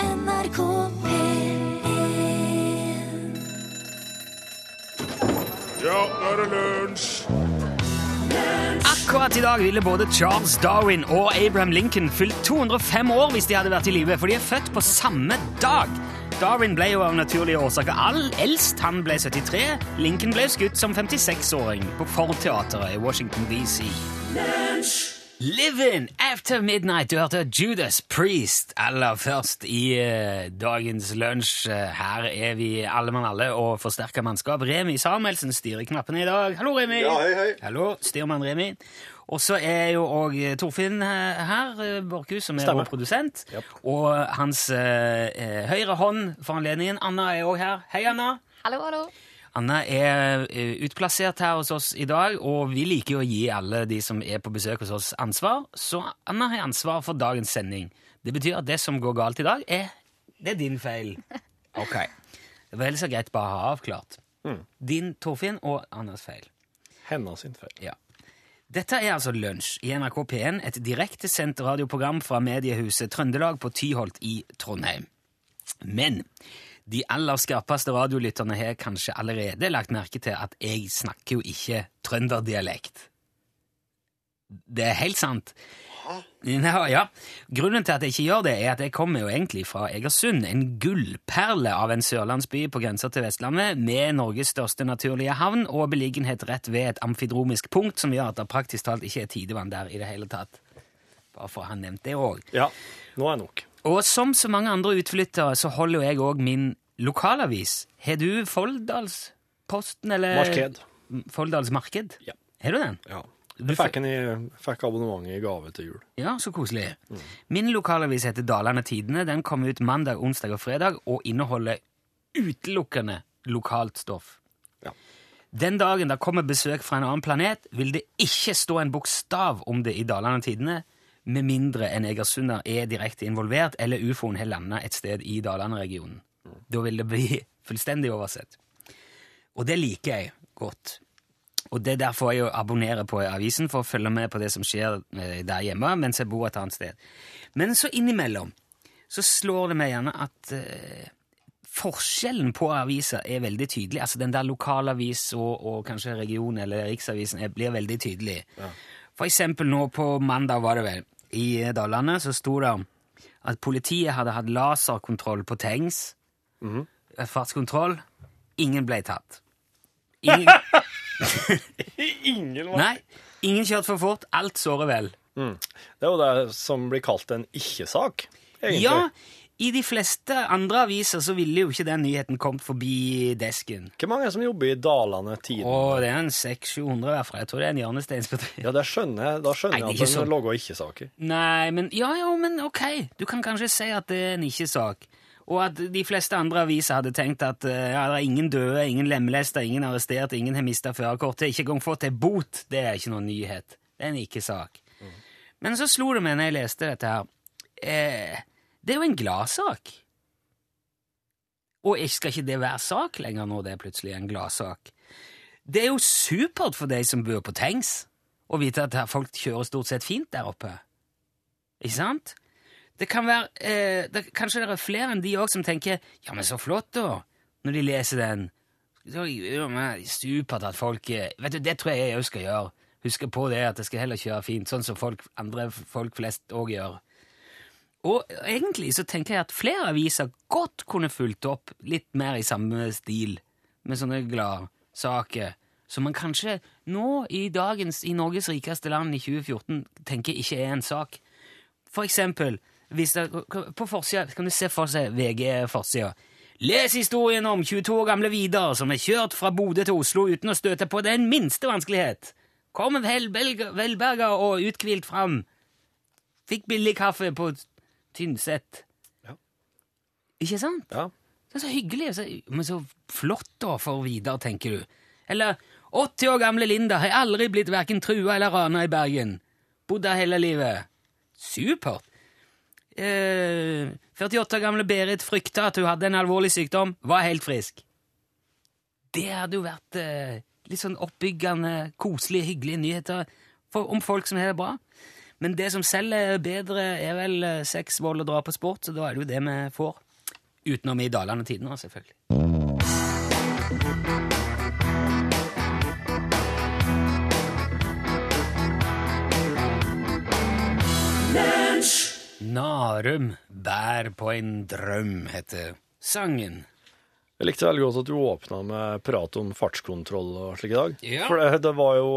NRK P1 Ja, nå er det lunsj! Akkurat i dag ville både Charles Darwin og Abraham Lincoln fylt 205 år hvis de hadde vært i live, for de er født på samme dag. Darwin ble jo av naturlige årsaker all eldst. Han ble 73. Lincoln ble skutt som 56-åring på Ford-teateret i Washington DC. Livin' after midnight. Du hørte Judas Priest aller først i eh, dagens lunsj. Eh, Her er vi alle mann alle og forsterka mannskap. Remi Samuelsen styrer knappene i dag. Hallo, Remi. Ja, hei, hei. Hallo, styrmann Remi. Og så er jo òg Torfinn eh, her, eh, Borchhus, som er Stemmer. vår produsent. Og hans eh, eh, høyre hånd for anledningen. Anna er òg her. Hei, Anna. Hallo, hallo. Anna er eh, utplassert her hos oss i dag, og vi liker jo å gi alle de som er på besøk hos oss, ansvar. Så Anna har ansvar for dagens sending. Det betyr at det som går galt i dag, er, det er din feil. Ok. Det var ellers så greit bare å ha avklart. Din, Torfinn, og Annas feil. Hennes sin feil. Ja. Dette er altså Lunsj i NRK P1, et direktesendt radioprogram fra mediehuset Trøndelag på Tyholt i Trondheim. Men de aller skarpeste radiolytterne har kanskje allerede lagt merke til at jeg snakker jo ikke trønderdialekt. Det er helt sant. Ja, ja. Grunnen til at jeg ikke gjør det, er at jeg kommer jo egentlig fra Egersund, en gullperle av en sørlandsby på grensa til Vestlandet, med Norges største naturlige havn og beliggenhet rett ved et amfidromisk punkt, som gjør at det praktisk talt ikke er tidevann der i det hele tatt. Bare for å ha nevnt det òg. Ja, nå er nok. Og som så mange andre utflyttere, så holder jo jeg òg min lokalavis. Har du Folldalsposten, eller Marked. Folldals Marked? Ja. Har du den? Ja. Du Jeg fikk, en i, fikk abonnementet i gave til jul. Ja, så koselig. Min lokalavis heter Dalane Tidene. Den kommer ut mandag, onsdag og fredag og inneholder utelukkende lokalt stoff. Ja. Den dagen det kommer besøk fra en annen planet, vil det ikke stå en bokstav om det i Dalane Tidene, med mindre en egersunder er direkte involvert eller ufoen har landa et sted i Dalane-regionen. Da vil det bli fullstendig oversett. Og det liker jeg godt. Og det er derfor jeg jo abonnerer på avisen, for å følge med på det som skjer eh, der hjemme mens jeg bor et annet sted. Men så innimellom så slår det meg gjerne at eh, forskjellen på aviser er veldig tydelig. Altså den der lokalavis og, og kanskje region- eller riksavisen er, blir veldig tydelig. For eksempel nå på mandag var det vel, i eh, Dalane så sto det at politiet hadde hatt laserkontroll på Tengs. Eh, Fartskontroll. Ingen ble tatt. Ingen... Ingen Nei, ingen kjørt for fort, alt såre vel. Det er jo det som blir kalt en ikke-sak, egentlig. Ja, i de fleste andre aviser så ville jo ikke den nyheten kommet forbi desken. Hvor mange er det som jobber i Dalane Tiden? Og det er en 600-700 herfra, jeg tror det er en hjørnesteinsbedrift. Ja, det skjønner jeg. Da skjønner Nei, det jeg er at ikke de sånn. lager ikke-saker. Nei, men ja, ja, men ok, du kan kanskje si at det er en ikke-sak. Og at de fleste andre aviser hadde tenkt at eh, ja, det er ingen døde, ingen lemlesta, ingen arrestert, ingen har mista førerkortet, ikke engang fått ei bot. Det er ikke noen nyhet. Det er en ikke-sak. Men så slo det meg når jeg leste dette her eh, Det er jo en gladsak. Og ikke- skal ikke det være sak lenger nå, det er plutselig en gladsak? Det er jo supert for de som bor på Tengs, å vite at her folk kjører stort sett fint der oppe. Ikke sant? Det kan være, eh, det, Kanskje det er flere enn de òg som tenker 'ja, men så flott', da, når de leser den. Så, ja, men Supert at folk eh, Vet du, Det tror jeg jeg òg skal gjøre. Huske på det at jeg skal heller kjøre fint, sånn som folk, andre folk flest òg gjør. Og egentlig så tenker jeg at flere aviser godt kunne fulgt opp litt mer i samme stil, med sånne gladsaker som man kanskje nå i dagens i Norges rikeste land i 2014 tenker ikke er en sak. For eksempel, hvis det, på forsida kan du se for seg VG-forsida. Les historien om 22 år gamle Vidar som er kjørt fra Bodø til Oslo uten å støte på den minste vanskelighet. Kom velbelg- velberga og uthvilt fram. Fikk billig kaffe på Tynset. Ja. Ikke sant? Ja. Det er så hyggelig, så, men så flott da for Vidar, tenker du. Eller 80 år gamle Linda har aldri blitt verken trua eller rana i Bergen. Bodd der hele livet. Supert. Eh, 48 år gamle Berit frykta at hun hadde en alvorlig sykdom, var helt frisk. Det hadde jo vært eh, litt sånn oppbyggende, koselige, hyggelige nyheter for, om folk som har det bra. Men det som selger bedre, er vel eh, sex, vold og drap og sport, så da er det jo det vi får. Utenom i Dalane Tidende, selvfølgelig. Narum bær på en drøm, heter sangen. Jeg likte veldig godt at du åpna med prat om fartskontroll og slik i dag. Ja. For det, det var jo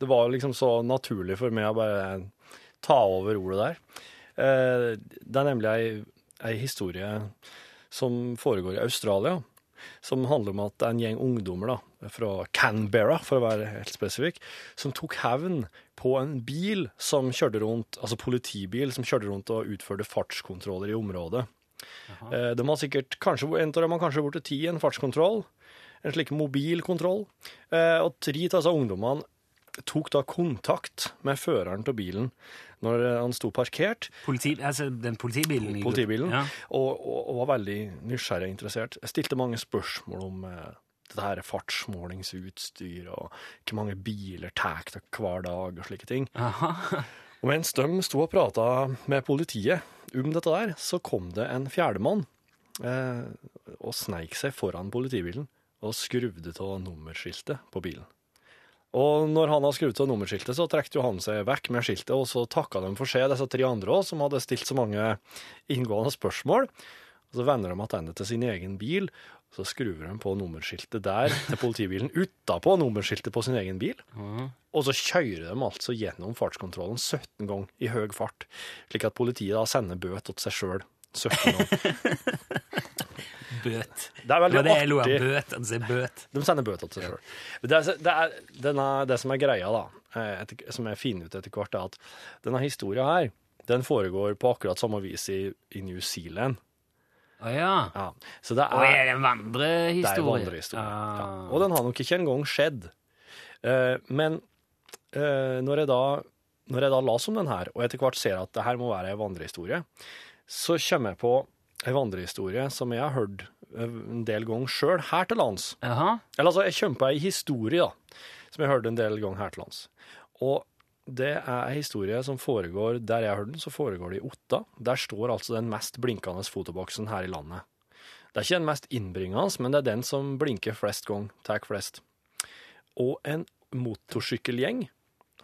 det var jo liksom så naturlig for meg å bare ta over ordet der. Eh, Det er nemlig ei, ei historie som foregår i Australia, som handler om at det er en gjeng ungdommer da, fra Canberra, for å være helt spesifikk, som tok hevn på en bil som kjørte rundt, altså politibil, som kjørte rundt og utførte fartskontroller i området. Eh, De har sikkert, kanskje, en av dem har kanskje vært ti i en fartskontroll, en slik mobilkontroll. Eh, Og tre av disse ungdommene tok da kontakt med føreren til bilen når eh, han sto parkert, Politi, altså den politibilen. i- politibilen, Ja. og, og, og var veldig nysgjerrig og interessert. Jeg stilte mange spørsmål om eh, dette her fartsmålingsutstyr, og hvor mange biler tar dere hver dag, og slike ting. Aha. Og mens de sto og prata med politiet om dette der, så kom det en fjerdemann eh, og sneik seg foran politibilen og skruvde av nummerskiltet på bilen. Og når han har skrudd av nummerskiltet, så trekte jo han seg vekk med skiltet, og så takka de for seg, disse tre andre òg, som hadde stilt så mange inngående spørsmål. Og så vender de tilbake til sin egen bil, og så skrur de på nummerskiltet der til politibilen utapå nummerskiltet på sin egen bil. Og så kjører de altså gjennom fartskontrollen 17 ganger i høy fart, slik at politiet da sender bøt til seg sjøl. 17 ganger. Bøt. Det er Det var veldig det jeg lo av. artig. Bøt. Altså bøt. De sender bøt til seg sjøl. Det, er- det, er- den er- det som er greia, da, eh, etter, som jeg finner ut etter hvert, er at denne historia her, den foregår på akkurat samme vis i, i New Zealand. Å ja. Ja. Så det Og er er, det en vandrehistorie? det er jo andre historier. Ja. Ah. Og den har nok ikke engang skjedd. Eh, men eh, når, jeg da, når jeg da las om den her, og etter hvert ser at det her må være ei vandrehistorie, så kommer jeg på ei vandrehistorie som jeg har hørt eh, en del ganger sjøl her til lands. Jaha. Eller altså, jeg kommer på ei historie da, som jeg har hørt en del ganger her til lands. Og det er ei historie som foregår der jeg har hørt den, så foregår det i Otta. Der står altså den mest blinkende fotoboksen her i landet. Det er ikke den mest innbringende, men det er den som blinker flest ganger, tar flest. Og en motorsykkelgjeng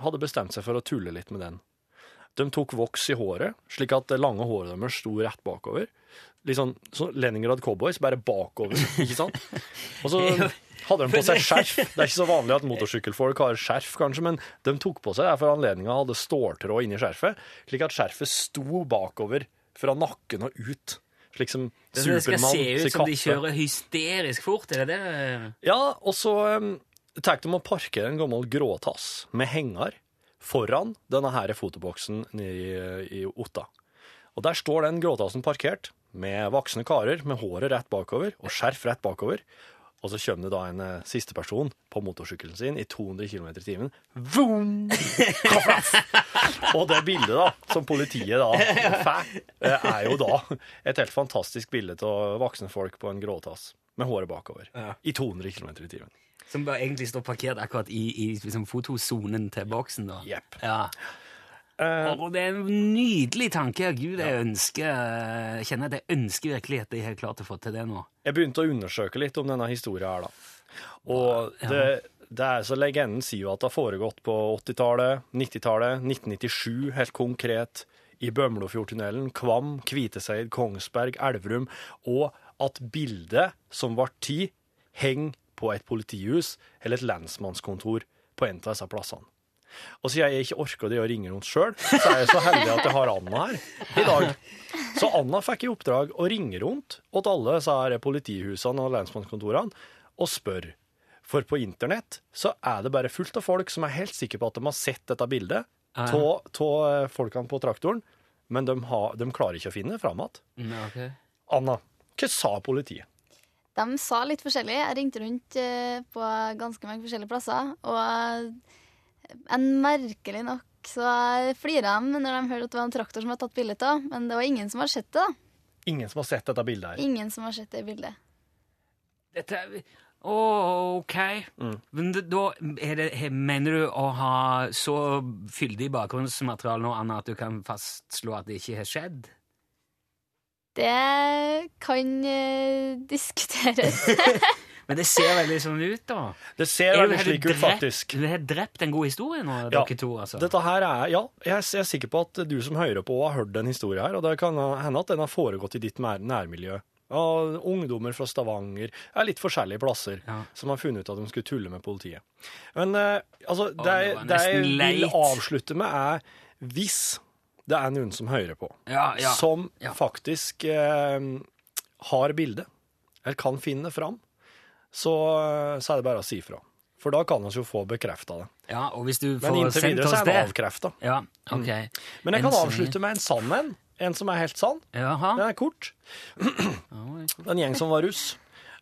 hadde bestemt seg for å tulle litt med den. De tok voks i håret, slik at det lange håret deres sto rett bakover. Litt sånn så Leningrad Cowboys, bare bakover, ikke sant? Og så hadde de på seg skjerf. Det er ikke så vanlig at motorsykkelfolk har skjerf, kanskje, men de tok på seg det for anledninga hadde ståltråd inni skjerfet, slik at skjerfet sto bakover fra nakken og ut. Slik som Så det skal Supermann se ut sin som de kappe. kjører hysterisk fort, er det eh? det? Ja, og så um, tar de og parkerer en gammel gråtass med henger foran denne her fotoboksen nede i, i Otta. Og der står den gråtassen parkert med voksne karer med håret rett bakover og skjerf rett bakover. Og så kommer det da en eh, siste person på motorsykkelen sin i 200 km i timen. Vroom! Klaff! Og det bildet da, som politiet da får, eh, er jo da et helt fantastisk bilde av voksne folk på en gråtass med håret bakover. I 200 km i timen. Som bare egentlig står parkert akkurat i, i liksom fotosonen til boksen. da. Jepp. Ja. Eh, Og det er en nydelig tanke. Gud, jeg ønsker jeg kjenner at jeg ønsker virkelig at jeg har klart å få til det nå. jeg begynte å undersøke litt om denne historien her, da. Og det, det er så legenden sier jo at det har foregått på 80-tallet, 90-tallet, 1997, helt konkret, i Bømlofjordtunnelen, Kvam, Kviteseid, Kongsberg, Elverum, og at bildet som var tid, henger på et politihus eller et lensmannskontor på en av disse plassene. Og siden jeg ikke orker det å ringe rundt sjøl, så er jeg så heldig at jeg har Anna her i dag. Så Anna fikk i oppdrag å ringe rundt åt alle disse her politihusene og lensmannskontorene og spørre. For på internett så er det bare fullt av folk som er helt sikre på at de har sett dette bildet Ja, ja. av folkene på traktoren, men de, har, de klarer ikke å finne det fram igjen. Mm, Anna, hva sa politiet? De sa litt forskjellig. Jeg ringte rundt eh, på ganske mange forskjellige plasser. Og eh, en merkelig nok så flira de når de hørte at det var en traktor som var tatt bilde av. Men det var ingen som har sett det. da. Ingen som har sett dette bildet her. Ingen som har sett det bildet. Dette er Å, OK. Mm. Men det- da er det, he- mener du å ha så fyldig bakgrunnsmateriale nå, Anna, at du kan fastslå at det ikke har skjedd? Det kan eh, diskuteres. Men det ser veldig sånn ut, da. Det Er ser du- veldig har du slik ut, drept- faktisk. Du har drept en god historie nå, Ja. dere to, altså. Dette her er, ja, jeg er jeg er sikker på at du som hører på har hørt den historien her, og det kan hende at den har foregått i ditt nær- nærmiljø. Av ungdommer fra Stavanger, ja, litt forskjellige plasser, Ja. som har funnet ut at de skulle tulle med politiet. Men eh, altså, det, det jeg- var det jeg nesten vil leit. avslutte med er, hvis det er noen som hører på, ja, ja. som ja. faktisk eh, har bildet, eller kan finne det fram, så, så er det bare å si ifra. For da kan vi jo få bekrefta det. ja, og hvis du Men får inntil sendt videre så oss er det det avkrefta. Ja, ok. Men jeg Enn kan så avslutte med en sann en. En som er helt sann. lenge. Jaha. Den er kort. Oi. En gjeng som var russ.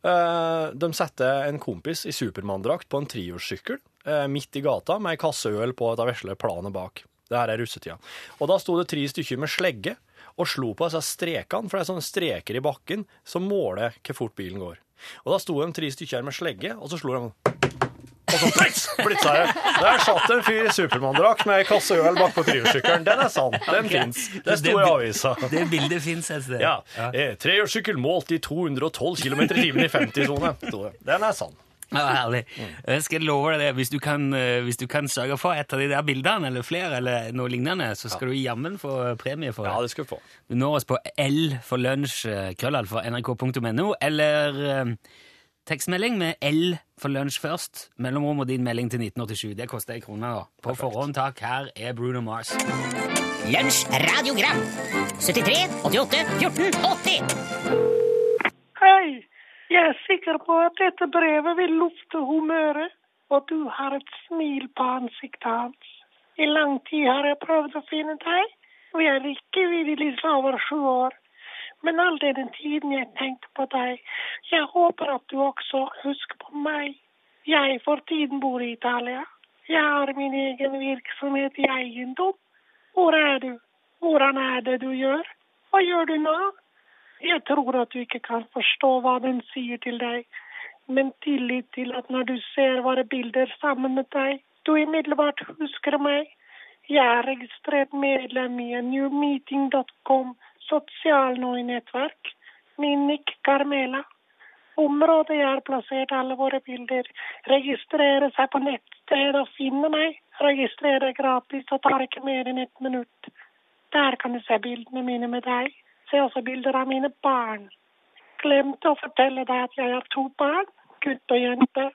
Eh, De satte en kompis i Supermann-drakt på en trihjulssykkel eh, midt i gata med ei kasse øl på et av vesle planet bak. Det her er russetida. Og da sto det tre stykker med slegge og slo på disse strekene, for det er sånne streker i bakken som måler hvor fort bilen går. Og da sto de tre stykker her med slegge, og så slo de og så blitz, blitza det. Der satt en fyr i Supermann-drakt med ei kasse øl bak på trihjulssykkelen. Den er sann. Den fins. Det sto i avisa. Det bildet fins et sted. Ja. Eh, Trehjulssykkel målt i 212 km i timen i 50-sone. sto det. Den er sann. Ja, herlig. Mm. Jeg skal love deg det. Hvis du, kan, eh, hvis du kan sørge for et av de der bildene, eller flere, eller noe lignende, så skal du jammen få premie for det. det skal du få. Du når oss på L for lunsj, eh, krøllall for nrk.no, eller eh, tekstmelding med L for lunsj først, mellomrom og din melding til 1987. Det koster ei krone, da. På forhånd, takk. Her er Bruno Mars. Lunsj radiogram 73 88 14 80 Hei, jeg er sikker på at dette brevet vil lufte humøret, og du har et smil på ansiktet hans. I lang tid har jeg prøvd å finne deg, og jeg er ikke villig til over sju år. Men all denne tiden jeg tenkte på deg, jeg håper at du også husker på meg. Jeg for tiden bor i Italia. Jeg har min egen virksomhet i eiendom. Hvor er du? Hvordan er det du gjør? Hva gjør du nå? Jeg tror at du ikke kan forstå hva den sier til deg, men tillit til at når du ser våre bilder sammen med deg, du umiddelbart husker meg. Jeg er registrert medlem i newmeeting.com sosial nå i nettverk. Min nikk Carmela. Området jeg har plassert alle våre bilder. Registrere seg på nettsted og finne meg. Registrere gratis og tar ikke mer enn ett minutt. Der kan du se bildene mine med deg. Se også bilder av mine barn. Glemte å fortelle deg at jeg har to barn, gutt og jente.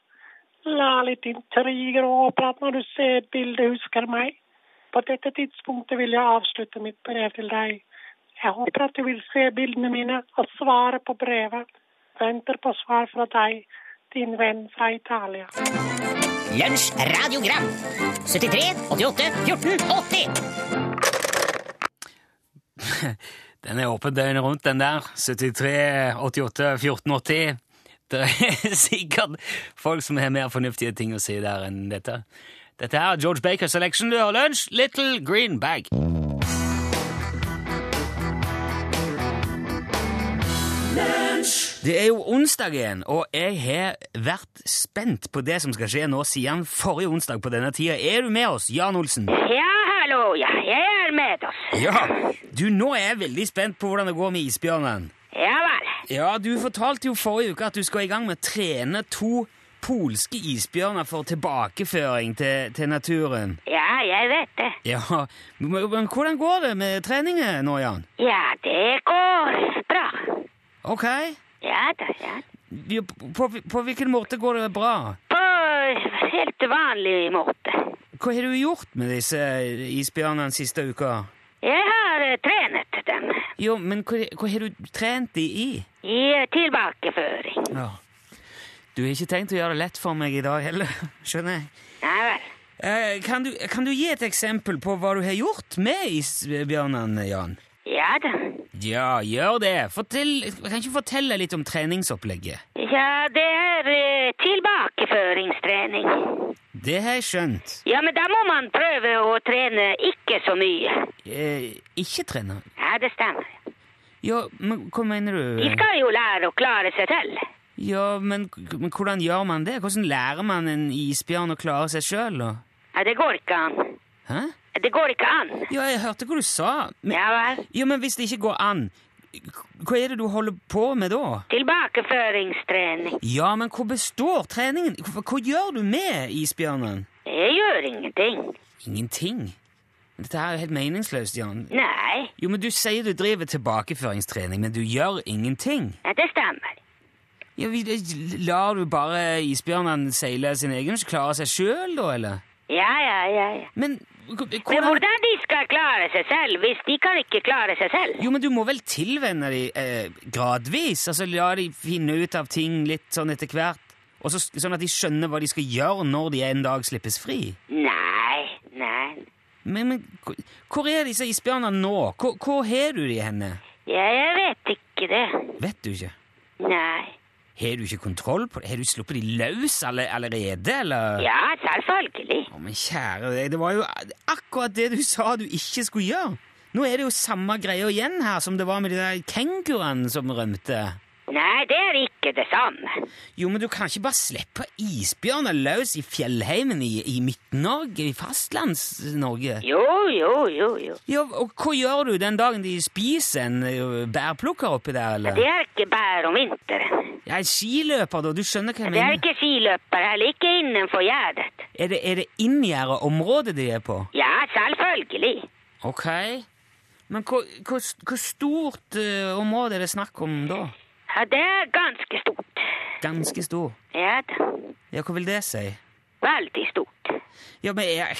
La litt intriger og håper at når du ser bildet, husker meg. På dette tidspunktet vil jeg avslutte mitt brev til deg. Jeg håper at du vil se bildene mine og svare på brevet. Venter på svar fra deg, din venn fra Italia. Lunsj radiogram 73 88 14 80 Den er åpen døgnet rundt, den der. 73 88 14 80. Det er sikkert folk som har mer fornuftige ting å si der enn dette. Dette her er George Baker Selection. Du har lunsj! Little Green Bag. Det er jo onsdag igjen, og jeg har vært spent på det som skal skje nå siden forrige onsdag på denne tida. Er du med oss, Jan Olsen? Ja, hallo, ja, jeg er med oss. Ja. Du, nå er jeg veldig spent på hvordan det går med isbjørnen. Ja vel. Ja, du fortalte jo forrige uke at du skal i gang med å trene to polske isbjørner for tilbakeføring til, til naturen. Ja, jeg vet det. Ja, men, men hvordan går det med treningen nå, Jan? Ja, det går bra. Ok, Ja da, ja. Vi- på, på hvilken måte går det bra? På helt vanlig måte. Hva har du gjort med disse isbjørnene siste uka? Jeg har eh, trenet dem Jo, men hva, hva har du trent de i? i eh, tilbakeføring. Ja. Du har ikke tenkt å gjøre det lett for meg i dag heller, skjønner jeg. Ja vel. Eh, kan, du, kan du gi et eksempel på hva du har gjort med isbjørnene, Jan? Ja da. Ja, gjør det. Fortell, kan ikke fortelle litt om treningsopplegget? Ja, det er eh, tilbakeføringstrening. Det har jeg skjønt. Ja, men da må man prøve å trene ikke så mye. Eh, ikke trener. Ja, det stemmer. Ja, men hva mener du? De skal jo lære å klare seg til. Ja, men, men hvordan gjør man det? Hvordan lærer man en isbjørn å klare seg sjøl? Ja, det går ikke an. Hæ? Det går ikke an. Ja, jeg hørte hva du sa. Men, Ja vel. ja, men hvis det ikke går an, hva er det du holder på med da? Tilbakeføringstrening. Ja, men hva består treningen? Hva, hva gjør du med isbjørnen? Jeg gjør ingenting. Ingenting. Dette her er jo helt meningsløst, Jan. Nei, Jo, men du sier du driver tilbakeføringstrening, men du gjør ingenting. det stemmer. Ja, vi- lar du bare isbjørnen seile sin egen, så klare seg sjøl, da, eller? Ja, ja, ja. ja. Men h- hvordan Men hvordan de skal klare seg selv hvis de kan ikke klare seg selv? Jo, men du må vel tilvenne de eh, gradvis? Altså la de finne ut av ting litt sånn etter hvert? Og så, sånn at de skjønner hva de skal gjøre når de en dag slippes fri? Nei, nei. Men, men hvor- hvor er disse isbjørnene nå? Hvor, hvor har du de henne? Ja, jeg vet ikke det. Vet du ikke? Nei. Har du ikke kontroll på det? Har du sluppet de løs alle, allerede, eller? Ja, selvfølgelig. Å, men kjære deg, det var jo akkurat det du sa du ikke skulle gjøre. Nå er det jo samme greia igjen her som det var med de der kenguruene som rømte. Nei, det er ikke det samme. Jo, men du kan ikke bare slippe isbjørner løs i fjellheimen i, i Midt-Norge, i Fastlands-Norge. Jo, jo, jo, jo. Ja, og hva gjør du den dagen de spiser en ø, bærplukker oppi der, eller? Det er ikke bær om vinteren. Ja, en skiløper, da, du skjønner hva jeg Det er mener. ikke skiløper heller, ikke innenfor gjerdet. Er det, er det inngjerdet området de er på? Ja, selvfølgelig. Ok. Men hvor, hvor, hvor stort ø, område er det snakk om da? Ja, det er ganske stort. Ganske stor. Ja da. Ja, hva vil det si? Veldig stort. Ja, men er,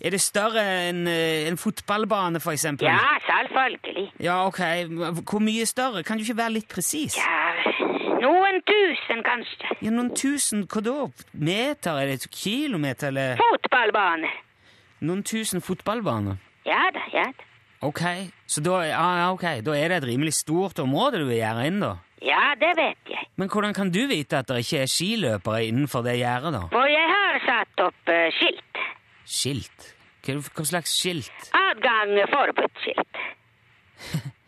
er det større enn ø, en fotballbane, for eksempel? Ja, selvfølgelig. Ja, ok. Hvor mye større? Kan du ikke være litt presis? Ja, noen tusen kanskje. Ja, noen tusen hva da? Meter, eller kilometer, eller Fotballbane. noen tusen fotballbaner? Ja da, ja da. Ok, så da, ja, ja, ok. da er det et rimelig stort område du gjerder inn, da. Ja, det vet jeg. Men hvordan kan du vite at det ikke er skiløpere innenfor det gjerdet, da? For jeg har satt opp eh, skilt. Skilt? Hva, er det- hva slags skilt? Adgang forbudt skilt.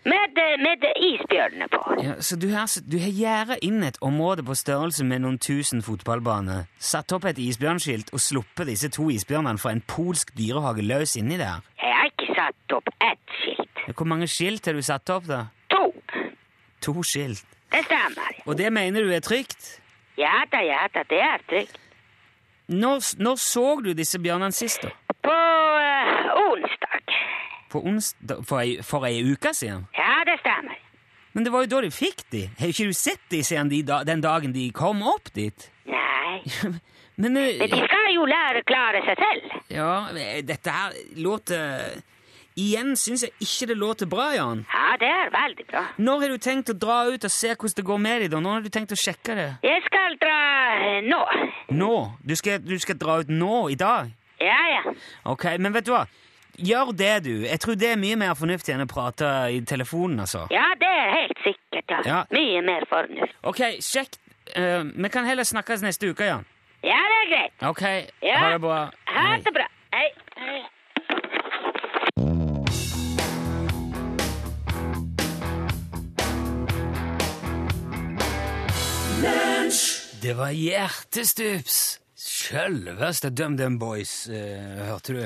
Med, eh, med isbjørnene på. Ja, så du har, s- du har gjerdet inn et område på størrelse med noen tusen fotballbaner, satt opp et isbjørnskilt og sluppet disse to isbjørnene fra en polsk dyrehage løs inni der? Jeg har ikke satt opp ett skilt. Hvor mange skilt har du satt opp, da? To. To skilt. Det stemmer. Og det mener du er trygt? Ja da, ja da, det er trygt. Når, når så du disse bjørnene sist, da? På eh, onsdag. På onsdag, for, ei, for ei uke siden? Ja, det stemmer. Men det var jo da de fikk de. Har ikke du sett de siden de, da- den dagen de kom opp dit? Nei. Men eh, Men de skal jo lære å klare seg selv. Ja, eh, dette her låter Igjen syns jeg ikke det låter bra, Jan. Ja, det er veldig bra. Når har du tenkt å dra ut og se hvordan det går med de da? Når har du tenkt å sjekke det? Jeg skal dra eh, nå. Nå? Du skal, du skal dra ut nå? I dag? Ja, ja. Ok, men vet du hva? Gjør det, du. Jeg tror det er mye mer fornuftig enn å prate i telefonen, altså. Ja, det er helt sikkert. Ja. Ja. Mye mer fornuft. Ok, sjekk. Eh, vi kan heller snakkes neste uke, Jan. Ja, det er greit. Ok, Ja. ha det bra. Ha Hei. det bra. Hei. Hei. Det var hjertestups! Sjølveste DumDum Boys, eh, hørte du.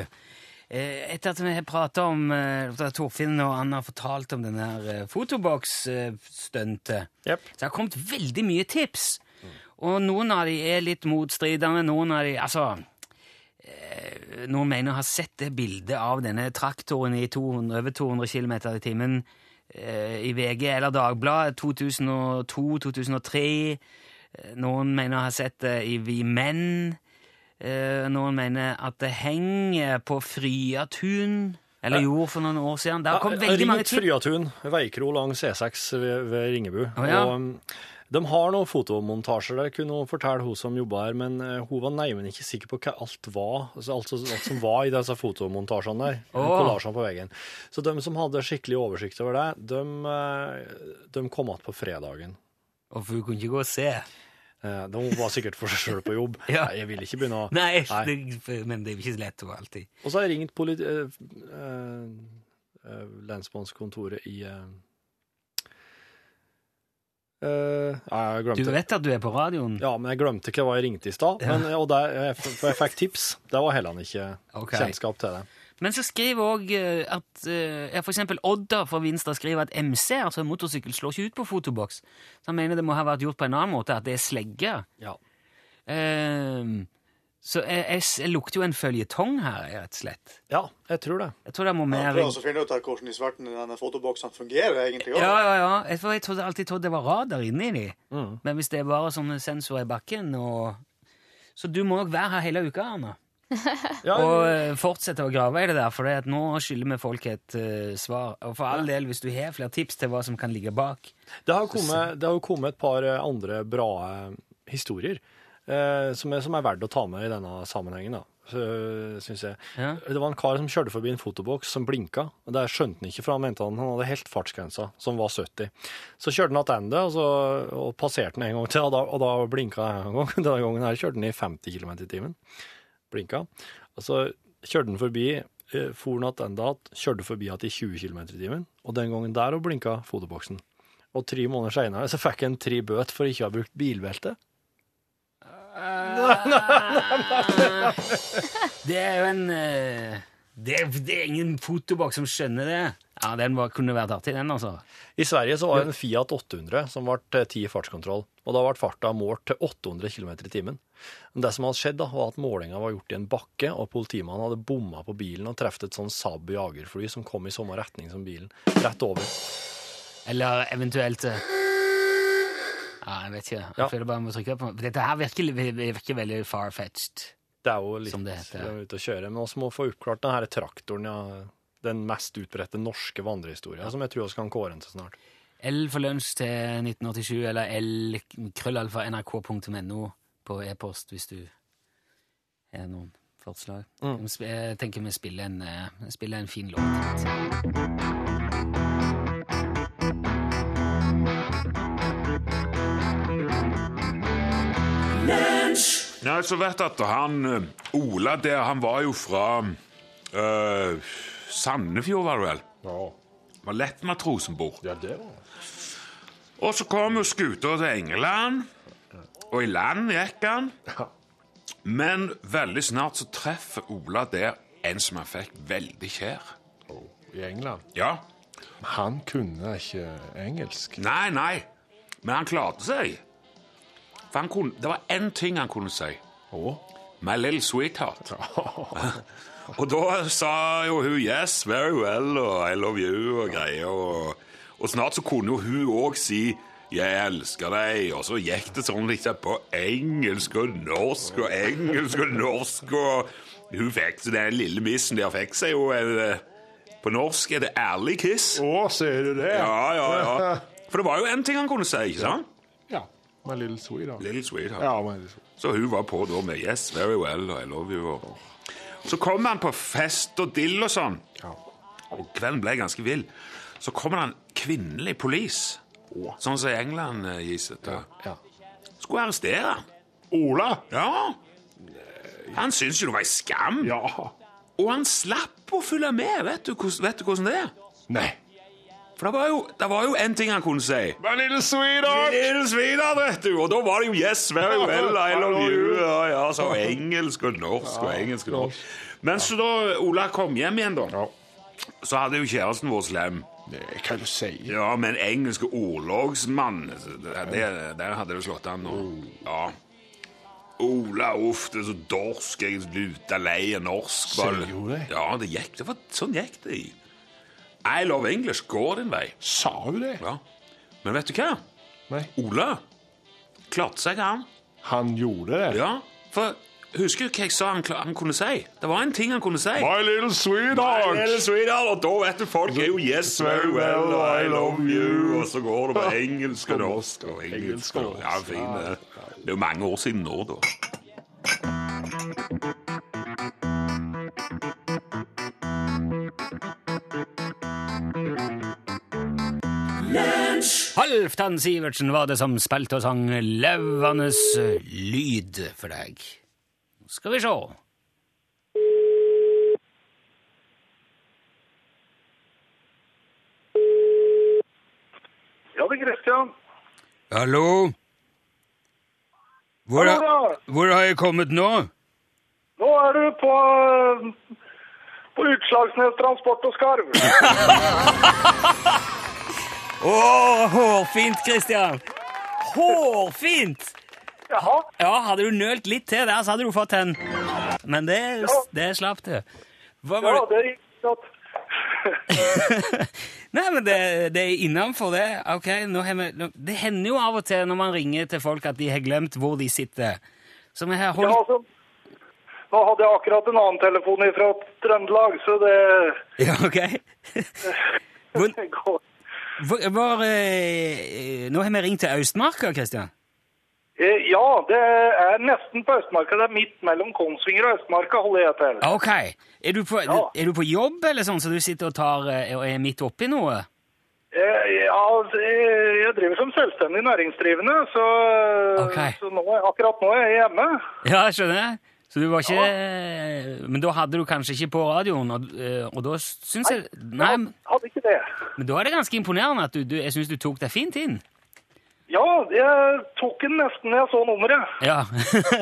Eh, etter at vi har prata om eh, at Torfinn og Anna har fortalt om den her eh, fotoboks-stuntet, Jep. så det har kommet veldig mye tips. Og noen av de er litt motstridende, noen av de Altså eh, Noen mener å ha sett det bildet av denne traktoren i 200, over 200 km i timen eh, i VG eller Dagbladet 2002-2003. Eh, Noen mener å ha sett det i Vi Menn. Eh, noen mener at det henger på Fryatun, eller gjorde for noen år siden. Det har kommet veldig mange Rundt tips. Fryatun, veikro langs E6 ved, ved Ringebu. Å, ja. Og, um, de har noen fotomontasjer der, kunne hun fortelle hun som jobba her, men eh, hun var neimen ikke sikker på hva alt var, altså alt, som- alt som var i disse fotomontasjene der, Å. kollasjene på veggen. Så de som hadde skikkelig oversikt over det, de, eh, de kom igjen på fredagen. Og for du kunne ikke gå og se. Eh, De var sikkert for seg sjøl på jobb. Ja. Nei, jeg vil ikke begynne å Nei, Nei. Det, men det er jo ikke så lett å være alltid. Og så har jeg ringt politi... eh, eh, eh, lensmannskontoret i eh, eh, Nei, jeg Du glemte det. vet at du er på radioen? Ja, men jeg glemte eh, ikke hva jeg ringte i stad. men- Og der, jeg, f- for jeg fikk tips. Der var heller ikke Ok. kjennskap til det. Men så skriver òg at eh, ja, for eksempel Odda fra Vinstra skriver at MC, altså motorsykkel, slår ikke ut på fotoboks. Så han mener det må ha vært gjort på en annen måte, at det er slegger. Ja. Ehm, så jeg, jeg, s- jeg lukter jo en føljetong her, rett og slett. ja, jeg tror det. Jeg tror det må Jeg mer prøver også altså- å finne ut av hvordan i sverten denne fotoboksen fungerer egentlig. Ja, også. ja, ja. Jeg, for jeg trodde alltid trodde det var radar inni de. Men hvis det er bare sånne sensorer i bakken og Så du må nok være her hele uka, Arne. Ja, Og eh, fortsette å grave i det der, for det at nå skylder vi folk et eh, svar. Og for all del, hvis du har flere tips til hva som kan ligge bak Det har, kommet, det har jo kommet et par eh, andre bra eh, historier eh, som, er, som er verdt å ta med i denne sammenhengen, da. Så, eh, synes jeg. Ja. Det var en kar som kjørte forbi en fotoboks som blinka. og Det skjønte han ikke, for han mente han, han hadde helt fartsgrensa, som var 70. Så kjørte han tilbake, og, så- og passerte han en gang til, og da, og da blinka han en gang. Denne gangen her kjørte han i 50 km i timen. Blinka. Og så kjørte han forbi, eh, for han tilbake, kjørte forbi at i 20 km i timen, og den gangen der òg blinka fotoboksen. Og tre måneder seinere så fikk han tre bøt for ikke å ha brukt bilbelte. Det er jo en eh, det, er, det er ingen fotoboks som skjønner det. Ja, den var, kunne vært artig, den, altså. I Sverige så var det en Fiat 800 som ble eh, ti i fartskontroll, og da ble farta målt til 800 km i timen. Men det som hadde skjedd, da, var at målinga var gjort i en bakke, og politimannen hadde bomma på bilen og truffet et sånn Saab jagerfly som kom i samme retning som bilen, rett over. Eller eventuelt eh, Ja, jeg vet ikke. Jeg Ja. føler bare jeg må trykke på Dette her virker, virker veldig far-fetched. Det er jo litt Som det heter, ja. eh, ute å kjøre. Men vi må få oppklart den her traktoren, ja. Den mest utbredte norske vandrehistoria, som jeg tror vi kan kåre til snart. L for lunsj til 1987, eller L krøllalfa nrk.no på e-post hvis du har noen forslag. Mm. Jeg tenker vi spiller en, eh, spiller en fin låt. Nei, så vet at han eh, Ola der, han var jo fra eh, Sandefjord, var det vel? Ja. Var lettmatros som bor. Ja, det var Og så kom jo skuta til England, og i land gikk han. Men veldig snart så treffer Ola der en som han fikk veldig kjær. i England. Ja. Han kunne ikke engelsk. Nei, nei. Men han klarte seg. For han kunne, det var én ting han kunne si. Å? My little sweetheart. og da sa jo hun yes, very well, og I love you og greier. Og, og snart så kunne jo hun òg si jeg elsker deg, og så gikk det sånn liksom på engelsk og norsk og engelsk og norsk, og hun fikk så den lille missen der fikk seg jo en eh, På norsk er det ærlig kiss. Å, sier du det? Ja, ja, ja. For det var jo én ting han kunne si, ikke sant? ja. My little sweetheart. Little sweetheart. Ja, my little sweetheart. Så hun var på da med 'Yes, very well' og 'I love you'. Og. Så kom han på fest og dill og sånn, Ja. og kvelden ble ganske vill. Så kommer det en kvinnelig polis, sånn som i England eh, gis det til. ja. Skulle arrestere han. Ola? Ja. Han syntes jo det var ei skam, Ja. og han slapp å følge med. Vet du, hvordan- vet du hvordan det er? Nei. For det var jo- det var jo én ting han kunne si. My little sweetheart! Nils Vidar, vet du. Og da var det jo 'Yes, very well, I love you'. Ja, ja, så engelsk og norsk og engelsk og norsk. Men så da Ola kom hjem igjen, da, så hadde jo kjæresten vår slem. Nei, kan du si? Ja, men engelske ordlagsmann, det- der hadde det slått an Oh. nå. Ja. Ola, uff, det er så dorsk. Jeg er luta lei av norsk. bare. Sier du det? Ja, det gikk. Det var, sånn gikk det. i. I love English går din vei. Sa hun det? Ja. Men vet du hva? Nei. Ola klarte seg, han. Han gjorde det? Ja, for husker du hva jeg sa han, kla- han kunne si? Det var en ting han kunne si. My little My sweetheart! little sweetheart, og da vet du folk er jo Yes, very well, I love you. Og så går det på engelsk og norsk og engelsk. Og, ja, fin, det. det er jo mange år siden nå, da. Halvdan Sivertsen var det som spilte og sang Lauvandes lyd for deg. Nå Skal vi sjå. Ja, det er Kristian. Hallo? Hvor, Hallo, da. hvor har jeg kommet nå? Nå er du på eh, på Utslagsnes Transport og Skarv. Å, hårfint, Christian! Hårfint! Jaha, Ja, hadde du nølt litt til der, så hadde du fått en. Men det, det slapp du. Hva var ja, det? det er ikke sant. Nei, men det, det er innenfor det. Ok, nå har vi, nå, det hender jo av og til når man ringer til folk at de har glemt hvor de sitter. Så vi har Ja, holdt... altså, nå hadde jeg akkurat en annen telefon fra Trøndelag, så det Ja, ok. Hvor, går. hvor, hvor, eh, nå har vi ringt til Østmarka, Christian. Eh, Ja, det er nesten på Østmarka. Det er midt mellom Kongsvinger og Østmarka, holder jeg til. Ok. Er du på, Ja. er du på jobb eller sånn, så du sitter og, tar, eh, og er midt oppi noe? Eh, Ja, altså, eh, jeg driver som selvstendig næringsdrivende, så, Ok. så nå, er- akkurat nå er jeg hjemme. Ja, jeg skjønner jeg. Så du var ikke Men da hadde du kanskje ikke på radioen, og, eh, og da syns jeg Nei, men- Jeg hadde ikke det. men da er det ganske imponerende at du, du Jeg syns du tok deg fint inn. Ja, jeg tok den nesten når jeg så nummeret. Ja.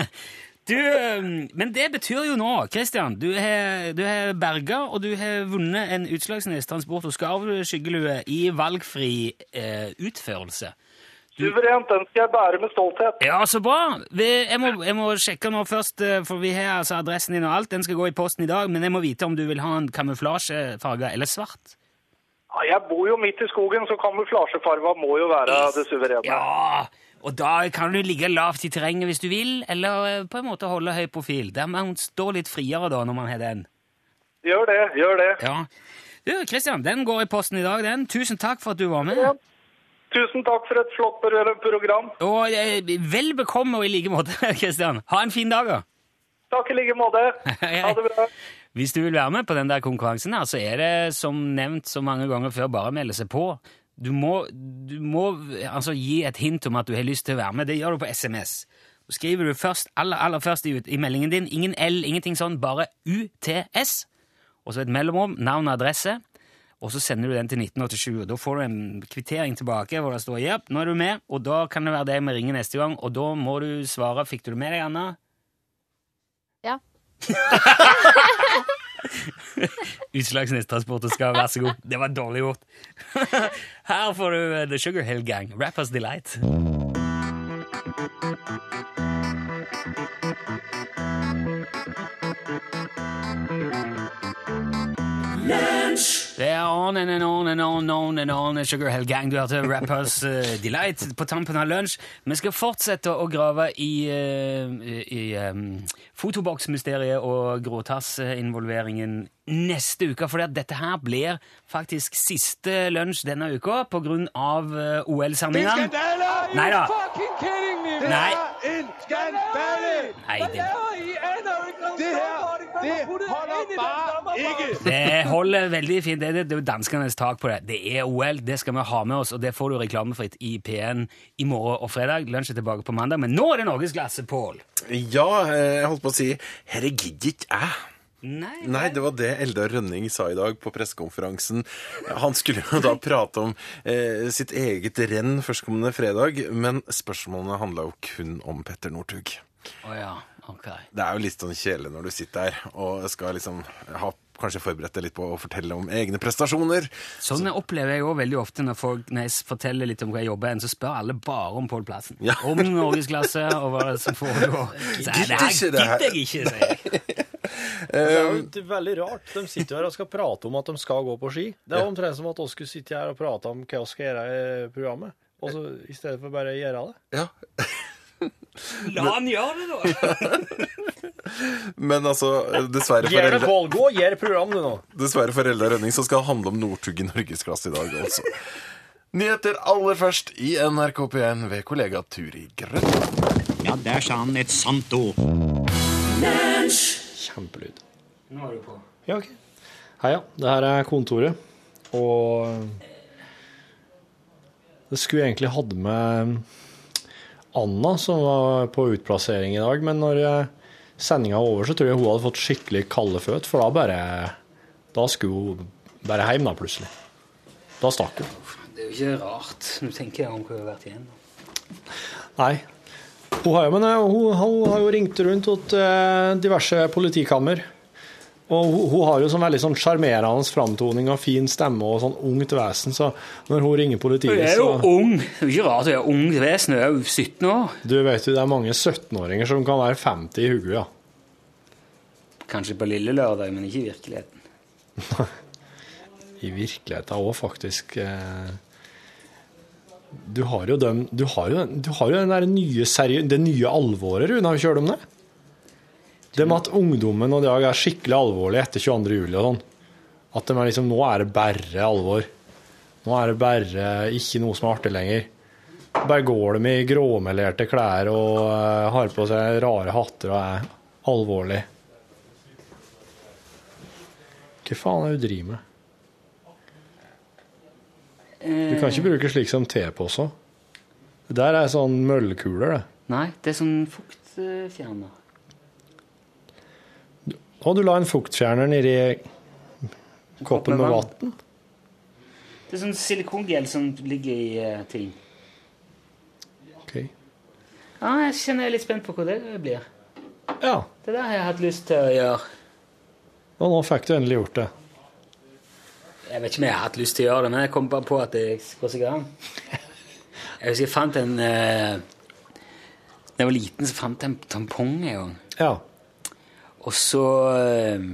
Du, eh, men det betyr jo nå, Christian, du har, du har berga, og du har vunnet en Utslagsnes Transport og Skarv-skyggelue i valgfri eh, utførelse. Suverent, den skal jeg bære med stolthet. Ja, så bra! Vi- Jeg må, jeg må sjekke nå først, eh, for vi har altså adressen din og alt. Den skal gå i posten i dag, men jeg må vite om du vil ha en kamuflasjefarga eller svart. Ja, jeg bor jo midt i skogen, så kamuflasjefarva må jo være det suverene. Ja, og da kan du ligge lavt i terrenget hvis du vil, eller eh, på en måte holde høy profil. Der man står litt friere da, når man har den. Gjør det, gjør det. Ja. Du, Christian, den går i posten i dag, den. Tusen takk for at du var med. Ja. Tusen takk for et flott pro- program. Og eh, vel bekomme og i like måte, Christian. Ha en fin dag, da. Takk i like måte. Ha det bra. Hvis du vil være med på den der konkurransen her, så er det som nevnt så mange ganger før, bare melde seg på. Du må, du må altså, gi et hint om at du har lyst til å være med. Det gjør du på SMS. Så skriver du først, aller, aller først i, ut- i meldingen din, ingen L, ingenting sånn, bare UTS, og så et mellomrom, navn og adresse, og så sender du den til 1987, og da får du en kvittering tilbake hvor det står «Jepp, nå er du med», og da kan det være deg med ringe neste gang, og da må du svare «Fikk du det med deg, Anna?» Ja. Utslagsnes Transport og Skarv, vær så god. Det var dårlig gjort. Her får du eh, The Sugar Hill Gang, Rappers Delight. Det er on and on and on and on and on and Sugar Hill Gang. Du hørte Rappers eh, Delight på tampen av lunsj. Vi skal fortsette å grave i, eh, i eh, fotoboksmysteriet og gråtassinvolveringen neste uke, for dette her blir faktisk siste lunsj denne uka på grunn av eh, OL-samlingen. Nei da. Nei. Nei, det... Det holder veldig fint. Det, det, det er jo danskenes tak på det. Det er OL, det skal vi ha med oss, og det får du reklamefritt i P1 i morgen og fredag. Lunsj er tilbake på mandag, men nå er det norgesglasse, Pål! Ja, eh, jeg holdt på å si Herre gidder ikke jeg. Nei, Nei, det var det Eldar Rønning sa i dag på pressekonferansen. Han skulle jo da prate om eh, sitt eget renn førstkommende fredag, men spørsmålene handla jo kun om Petter Northug. Å ja, ok. Det er jo litt sånn kjedelig når du sitter der og skal liksom ha kanskje forberedt deg litt på å fortelle om egne prestasjoner. Sånn opplever jeg òg veldig ofte når folk når jeg forteller litt om hva jeg jobber med, så spør alle bare om Pål Plassen. Ja. Om norgesklasse og hva som foregår. Så, Gidder nei, ikke det her. gidder jeg ikke, sier jeg. Det Eh, er jo litt veldig rart. De sitter jo her og skal prate om at de skal gå på ski. Det er jo omtrent som at oss skulle sitte her og prate om hva vi skal gjøre i programmet, og så i stedet for bare å gjøre det. Ja, La han gjøre det, da! Men altså, dessverre for Gjør det Eldar- valgå, gjør program, du nå. Dessverre for Eldar Rønning så skal det handle om Northug i norgesklasse i dag også. Nyheter aller først i NRK P1 ved kollega Turi Grønn. Ja, der sa han et sant ord. Kjempelyd. Nå er du på. Ja, ok. Heia, det her er kontoret, og det skulle egentlig hatt med Anna som var på utplassering i dag, men når sendinga var over, så tror jeg hun hadde fått skikkelig kalde føt, for da bare Da skulle hun bare hjem, da, plutselig. Da stakk hun. Det er jo ikke rart. Nå tenker jeg om hva jeg har vært igjennom. Nei. Hun har jo, men eh, hun, hun har jo ringt rundt til diverse eh, politikammer Og hun, hun har jo sånn veldig sånn sjarmerende framtoning og fin stemme og sånn ungt vesen, så når hun ringer Jeg politiet, er jo så ung. Det er ikke rart jeg er ung vesen. Jeg er jo 17 år. Du vet jo, det er mange 17-åringer som kan være 50 i hodet, ja. Kanskje på lille lørdag, men ikke i virkeligheten. I virkeligheten òg, faktisk. eh, Du har jo, dem, du har jo, den- du har jo den der nye seri det nye alvoret, Rune. Har du ikke hørt om det? Det med at ungdommen og i dag er skikkelig alvorlig etter 22. juli og sånn. At de er liksom, nå er det bare alvor. Nå er det bare ikke noe som er artig lenger. Bare går de i gråmelerte klær og eh, har på seg rare hatter og er alvorlig. Hva faen er det du driver med? Du kan ikke bruke slik som tepose. Det der er sånn møllkuler, det. Nei, det er sånn fuktfjerner. Og du la en fuktfjerner nedi koppen med vann. Det er sånn silikongel som ligger i eh, ting. Ok. Ja, jeg kjenner jeg er litt spent på hva det blir. Ja. Det der har jeg hatt lyst til å gjøre. Og nå fikk du endelig gjort det. Jeg vet ikke om jeg har hatt lyst til å gjøre det, men jeg kom bare på at det går seg an. Jeg husker jeg fant en eh, Da jeg var liten, så fant jeg en tampong en gang. Ja. Og så eh,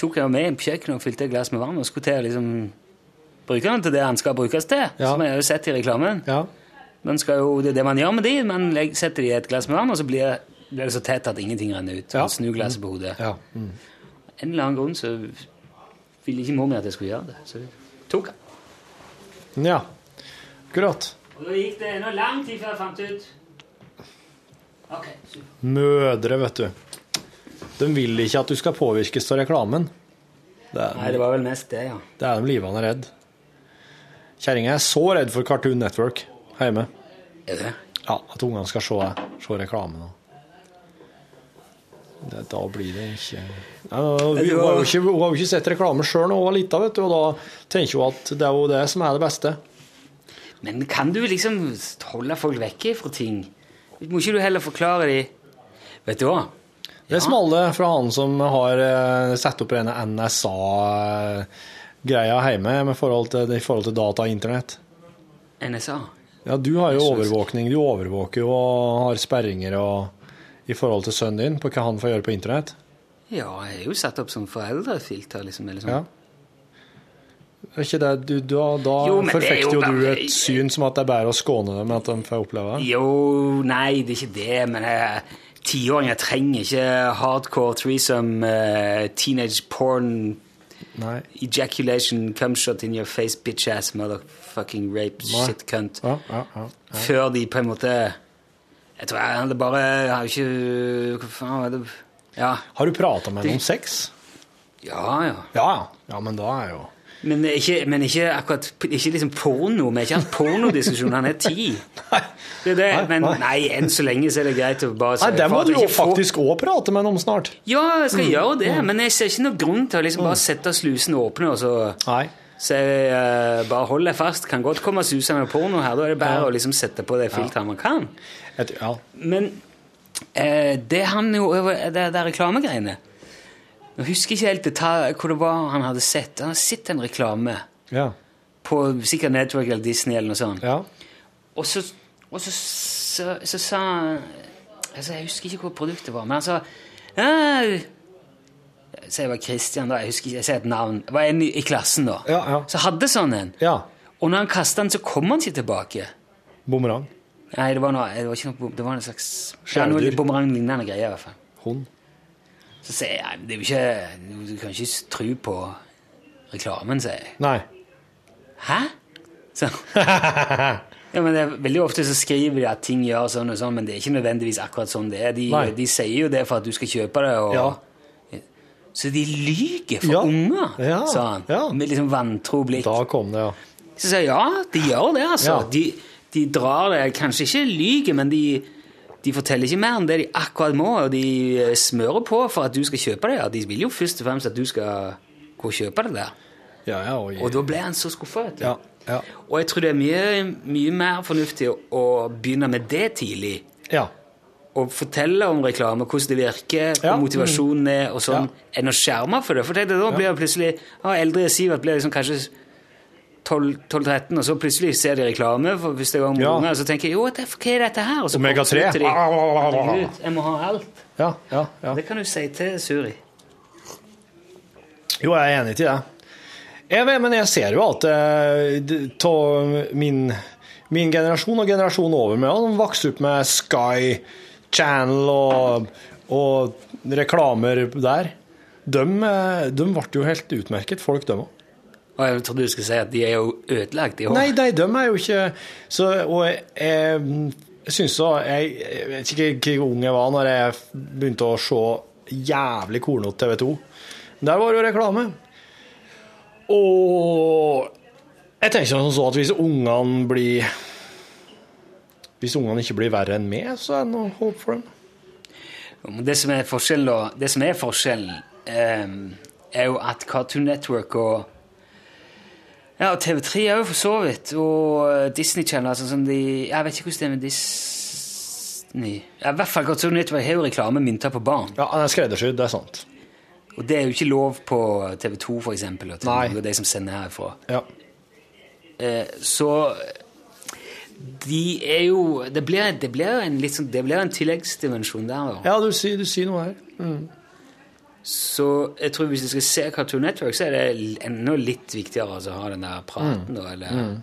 tok jeg den med inn på kjøkkenet og fylte et glass med vann og skulle til å liksom bruke den til det den skal brukes til, som jeg har jo sett i reklamen. Man skal jo, det er det man gjør med de, man legg- setter de i et glass med vann, og så blir, blir det så tett at ingenting renner ut. Man snur glasset på hodet. Mm. En eller annen grunn så ville ikke mor mi at jeg skulle gjøre det. Så jeg tok den. Ja. Akkurat. Og da gikk det ennå lang tid før jeg fant ut. Ok, super. Mødre, vet du. De vil ikke at du skal påvirkes av reklamen. Det er, Nei, det var vel mest det, ja. det er de livende redd. Kjerringa er så redd for Cartoon Network hjemme. Er det? Ja, at ungene skal se, se reklame nå. Det, da blir det ikke ja, Hun det hun var- har jo ikke, hun har jo ikke sett reklame sjøl da hun var lita, vet du, og da tenker hun at det er jo det som er det beste. Men kan du liksom holde folk vekke fra ting? Må ikke du heller forklare de Vet du hva? Det smalle fra han som har eh, satt opp rene NSA-greia hjemme med forhold til, i forhold til data og internett. NSA. Ja, du har jo overvåkning. Du overvåker jo og har sperringer og, i forhold til sønnen din på hva han får gjøre på internett. Ja, jeg er jo satt opp som foreldrefilter, liksom. Eller sånn. Er ikke det, du, da da Jo, men det er forfekter jo jo du bare- et syn som at det er bedre å skåne dem enn at de får oppleve det. Jo, nei, det er ikke det, men jeg- tiåringer trenger ikke hardcore threesome, eh, teenage porn, Nei. ejaculation, cumshot in your face, bitch ass, motherfucking rape, Nei. shit, cunt. Ja, ja, ja. Før de på en måte Jeg tror jeg hadde bare Jeg har jo ikke Hva faen var det Ja, Har du prata med Det- noen om sex? ja. ja. Ja, ja. Ja, men da er jo Men, ikke, men ikke akkurat Ikke liksom porno. Vi har ikke hatt pornodiskusjon. Han er ti. Det er det. Men nei, enn så lenge så er det greit å bare si Nei, det må for at du jo ikke får- faktisk Mm. òg prate med noen om snart. Ja, jeg skal gjøre det, men jeg ser ikke noen grunn til å liksom bare sette slusen åpne og så Mm. Nei. så jeg, eh, bare hold deg fast. Kan godt komme susende porno her. Da er det bare å liksom sette på det filteret man kan. Jeg tror- ja. Men eh, det han jo over det, det reklamegreiene Jeg husker ikke helt detalj, hvor det var han hadde sett. Han hadde sett en reklame Ja. på sikkert Network eller Disney eller noe sånt. ja. Og så, og så, så, så sa han altså, Jeg husker ikke hvor produktet var, men han sa «Ja, Så jeg var Christian, da. Jeg husker ikke, jeg sier et navn. Det var en i, i klassen, da. Ja, ja. Så hadde sånn en. ja. Og når han kasta den, så kom han ikke tilbake. Bumerang. Nei, det var, noe, det var, ikke noe, bom- det var en slags ja, noe Skjærdyr. litt bumerang-lignende greier. i hvert fall. Hund. Så sier jeg «Nei, men det er jo ikke, du kan ikke tro på reklamen, sier jeg. Nei. Hæ? Så. Ja, men det er, veldig ofte så skriver de at ting gjør sånn og sånn, men det er ikke nødvendigvis akkurat sånn det er. De, Nei. de sier jo det for at du skal kjøpe det. Og, Ja. Så de lyger for Ja. unger, Ja. sa han. Ja. Med liksom vantro blikk. Da kom det, ja. Så sier jeg ja, de gjør det, altså. Ja. De, de drar det. Kanskje ikke lyger, men de, de forteller ikke mer enn det de akkurat må, og de eh, smører på for at du skal kjøpe det. Ja. De vil jo først og fremst at du skal gå og kjøpe det der. Ja, ja, og, Og da ble han så skuffa, vet du. ja, ja. Og jeg tror det er mye, mye mer fornuftig å- å begynne med det tidlig ja. og fortelle om reklame, hvordan det virker, hvor motivasjonen er, og sånn, enn å skjerme for det. For tenk deg, da blir det plutselig ja, Eldre Sivert blir liksom kanskje 12-13, og så plutselig ser de reklame for første gang med Ja. unger, og så tenker jeg jo, det- hva er dette her? Og så Omega Ah, fortsetter 3. de. Herregud, Jeg må ha alt. Ja, ja, ja. Det kan du si til Suri. Jo, jeg er enig til det. Jeg vet, men jeg ser jo at eh, det- ta min, min generasjon og generasjonen over meg, de vokste opp med Sky Channel og, og reklamer der. De, eh, de ble jo helt utmerket, folk de òg. Og jeg trodde du skulle si at de er jo ødelagt i år. Nei, nei, de er jo ikke så, Og jeg, jeg, jeg syns så jeg, jeg vet ikke hvor ung jeg var når jeg begynte å se jævlig kornete TV 2. Der var det jo reklame. Og jeg tenker sånn så at hvis ungene blir Hvis ungene ikke blir verre enn meg, så er det noe håp for dem. Men Det som er forskjellen, da, det som er forskjellen, ehm, er jo at Cartoon Network og ja, og TV3 er jo for så vidt, og eh, Disney Channel sånn som de Jeg vet ikke hvordan det er med Disney ja, I hvert fall Cartoon Network har jo reklame mynta på barn. Ja, han er skreddersydd, det er sant. Og det er jo ikke lov på TV2, for eksempel, og, TV, Nei. og de som sender herfra. Ja. Eh, så de er jo Det blir, det blir, en, litt sånn, det blir en tilleggsdimensjon der, da. Ja, du sier, du sier noe her. Mm. Så jeg tror hvis du skal se Cartoon Network, så er det l- enda litt viktigere altså, å ha den der praten, da, eller Mm.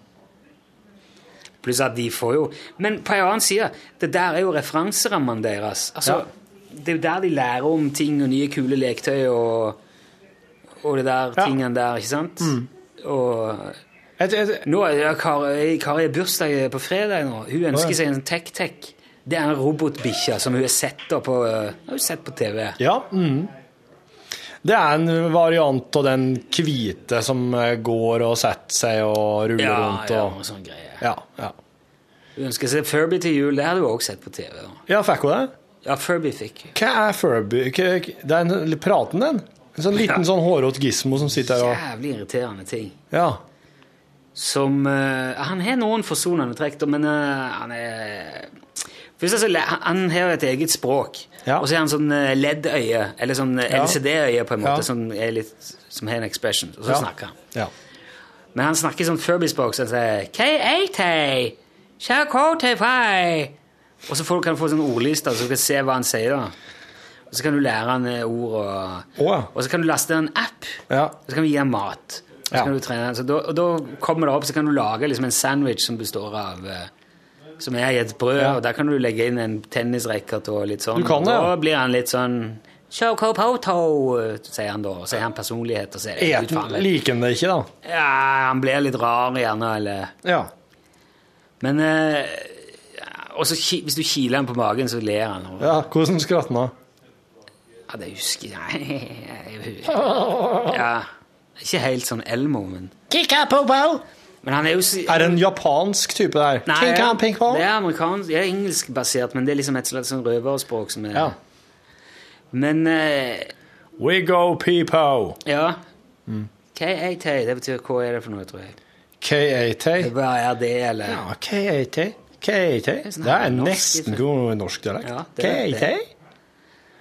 Pluss at de får jo Men på en annen side, det der er jo referanserammene deres. Altså, Det er jo der de lærer om ting og nye kule leketøy og, og det der Ja. Mm. tingene der, ikke sant? Og Et, et, nå er det Kari Kari har bursdag på fredag nå. Hun ønsker seg en Tech-Tech. Det er en robotbikkje som hun har sett, da på, eh, har hun sett på TV. ja. mhm. Det er en variant av den hvite som eh, går og setter seg og ruller rundt. ja, Og, og sånn greie. ja, ja. Hun ønsker seg Furby til jul. Det har du også sett på TV. da. ja, fikk hun det? Ja, Furby fikk hun. Hva er Furby? Hva, det er en praten, den. En sånn liten sånn hårete gismo som sitter her og Jævlig irriterende ting. Ja. Som eh, Han har noen forsonende trekk, da, men eh, han er Først så, le- Han har jo et eget språk, Ja. og så har han sånn eh, LED-øye, eller sånn eh, Ja. LCD-øye, på en Ja. måte, som, er litt, som har en expression, og så Ja. snakker han. ja. Men han snakker sånn Furby-språk, så han sier K-80, K-K-T-Fai. Og så får du, kan du få sånn ordlister, så du kan se hva han sier da. Og så kan du lære han eh, ord, og, Å, ja. og så kan du laste en app, Ja. og så kan du gi han mat. Og så Ja. kan du trene han. Så da, og da kommer det opp, så kan du lage liksom en sandwich som består av... eh, Som er i et brød, Ja. og der kan du legge inn en tennisracket og litt sånn. Du kan det, og ja. da blir han litt sånn... Chocopoto, sier han da, og så er han personlighet, og så er det Et, utfarlig. liker han det ikke, da? Ja, han blir litt rar gjerne, eller Ja. Men eh, også, ki- hvis du kiler han på magen, så ler han. Og, ja. ja hvordan skratter han? det husker jeg ja, Ikke helt sånn Elmo, men Men han er jo si- Er det en japansk type der? Nei, King Kong, Ping Pong? Det er amerikansk, det er engelskbasert, men det er liksom et slags sånn røverspråk som er Ja. Men eh, We go peepo. ja. Mm. KAT, det betyr hva er det for noe, tror jeg. KAT. Hva er det, eller Ja, KAT. KAT. sånn Det her er norsk- nesten god norsk dialekt. Ja, det er det. KAT.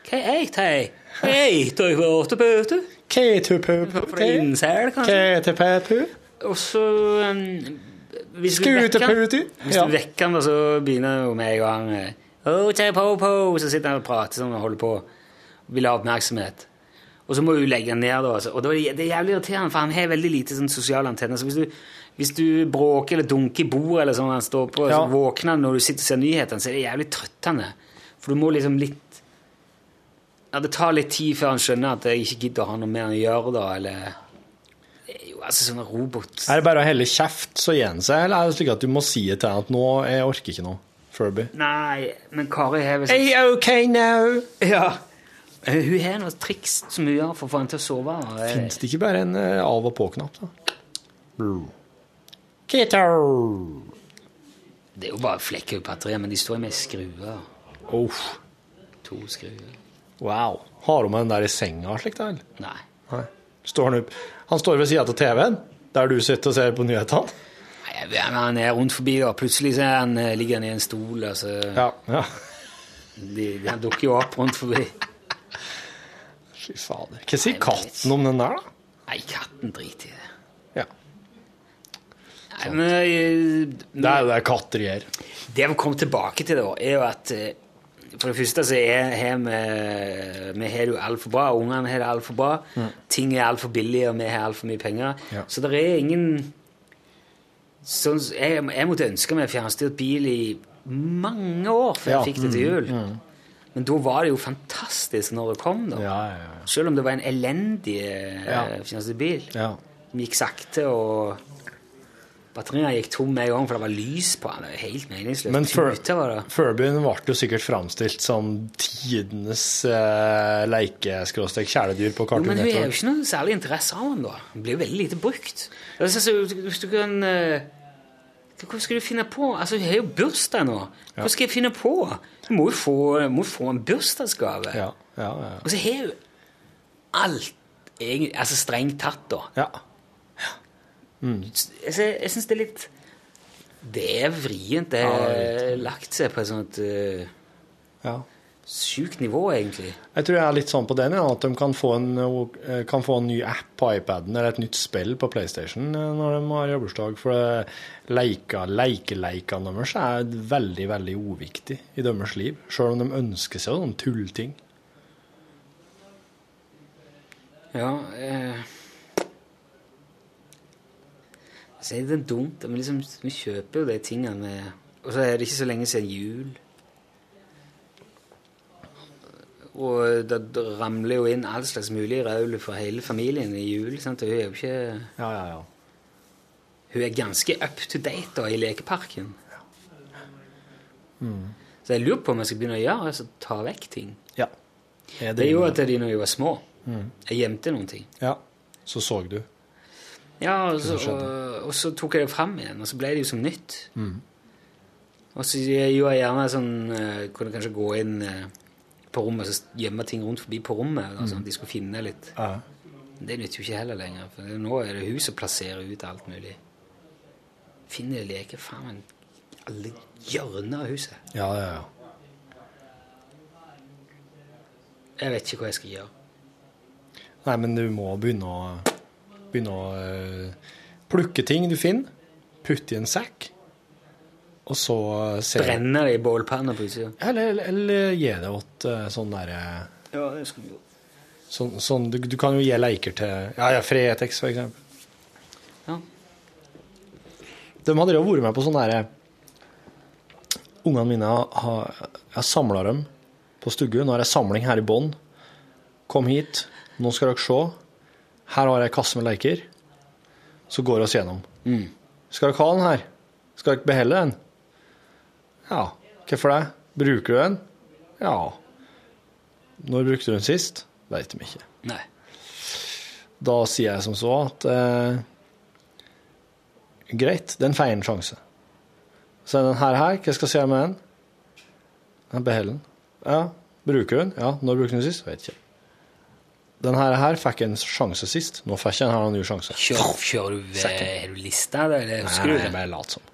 KAT. Hei, du er åtte bøter. KAT. Innsel, kanskje. KAT. Og så um, hvis du vekker han- Skuteputi. Hvis Ja. du vekker han, da, så begynner han jo med en gang eh, «Ho, te, po, po», Så sitter han og prater sånn og holder på. Vil ha oppmerksomhet. Og så må du legge han ned, da. altså. Og da er det- det er jævlig irriterende, for han har veldig lite sånn sosiale antenner. Så hvis du, hvis du bråker eller dunker i bordet, eller sånn han står på, Ja. så våkner han når du sitter og ser nyhetene, så er det jævlig trøttende. For du må liksom litt Ja, det tar litt tid før han skjønner at jeg ikke gidder å ha noe mer å gjøre, da, eller Det er jo altså sånne robot... Er det bare å helle kjeft, så gir han seg, eller er det slik at du må si til han at nå, jeg orker ikke nå, Furby? Nei, men Kari har vel OK now? Ja. Eh, Hun har noen triks som hun gjør for å få henne til å sove. og, eh, Fins det ikke bare en eh, av og på-knapp, da? Kitto. Det er jo bare flekker på batteriet, men de står med skruer. Uff. To skruer. Wow. Har hun med den der i senga og slikt, da? eller? Nei. Nei. Står han opp Han står ved sida av TV-en, der du sitter og ser på nyhetene? Nei, jeg vet, men Han er rundt forbi, og plutselig så er han, eh, ligger han i en stol. Altså. Ja. ja. De, de dukker jo opp rundt forbi. Fy fader. Hva sier katten om den der, da? Nei, katten driter i det. Ja. Nei, men eh, Det er jo det katter gjør. Det vi kom tilbake til, da, er jo at eh, for det første så er, har eh, vi Vi har det jo altfor bra. Ungene har det altfor bra. Ting er altfor billig, og vi har altfor mye penger. Mm. Ja. Så det er ingen sånn, s- jeg, jeg måtte ønske meg fjernstyrt bil i mange år før Ja, Mm, jeg fikk det til jul. Men da var det jo fantastisk når det kom, da. Ja, ja, ja. Selv om det var en elendig eh, Ja. fjernstyrt bil. ja. Den gikk sakte, og batteriene gikk tom med en gang, for det var lys på den. Det er Helt meningsløst. Men før- Puta var det. Furbyen ble jo sikkert framstilt som tidenes eh, leike-kjæledyr på Jo, men Cartoon hun er jo Network. ikke noe særlig interesse av den, da. Den blir jo veldig lite brukt. Det er sånn som hvis du kan... eh, Hva skal du finne på? Altså, Hun har jo bursdag nå. Hva skal jeg finne på? Du må jo få, må jo få en bursdagsgave. Ja, ja, ja. Og så har hun alt egentlig, altså strengt tatt, da. ja. Jeg, sy- jeg syns det er litt Det er vrient. Det har lagt seg på et sånt eh, ja. sjukt nivå, egentlig. Jeg tror jeg er litt sånn på den, ja, at de kan få, en, eh, kan få en ny app på iPaden eller et nytt spill på PlayStation eh, når de har bursdag. For eh, leika, leikeleikene deres er veldig, veldig uviktig i deres liv. Selv om de ønsker seg sånne tullting. Ja eh, Så er altså, det dumt. Men liksom, vi kjøper jo de tingene med Og så er det ikke så lenge siden jul. Og det d- ramler jo inn all slags mulig raul for hele familien i jul. Sant? Og hun er jo ikke Ja, ja, ja. Hun er ganske up to date da, i lekeparken. Så jeg lurer på om jeg skal begynne å gjøre altså, ta vekk ting. Ja. Jeg Det driver gjorde med at de når de var små, jeg gjemte noen ting. Ja. Så så du. Ja, og så, som skjedde. Mm. og, og så tok jeg det fram igjen, og så ble det jo som nytt. Og så gjorde jeg gjerne sånn eh, Kunne kanskje gå inn eh, på rommet og så gjemme ting rundt forbi på rommet. Da, sånn at de skulle finne litt. Ja. Men Det nytter jo ikke heller lenger, for det- nå er det hun som plasserer ut alt mulig. Finner jeg leker faen meg i alle hjørner av huset. Ja, ja, ja. Jeg vet ikke hva jeg skal gjøre. Nei, men du må begynne å, begynne å eh, plukke ting du finner, putte i en sekk, og så eh, se Brenne det i bålpanna på utsida. Eller, eller, eller gi det åt eh, sånn derre Ja, det skulle vi gjort. sånn, sånn, du, du kan jo gi leker til Ja, ja, Fretex, for eksempel. Ja. De hadde jo vært med på sånn derre Ungene mine har Jeg samla dem på Stuggu. Nå har jeg samling her i bånn. Kom hit, nå skal dere se. Her har jeg en kasse med leker. Så går vi oss gjennom. Skal dere ha den her? Skal dere beholde den? Ja. Hvorfor det? Bruker du den? Ja. Når brukte du den sist? Veit de ikke. Nei. Da sier jeg som så at eh, greit, den får en sjanse. Så er den her, her, hva skal jeg gjøre med den? Jeg beholder den. Ja, bruker du den? Ja, når bruker du den sist? Vet ikke. Den her, her fikk en sjanse sist. Nå fikk jeg en her en ny sjanse. Kjør, kjører du ved Har du lista, da? Eller husker Skru du det det? bare lat som.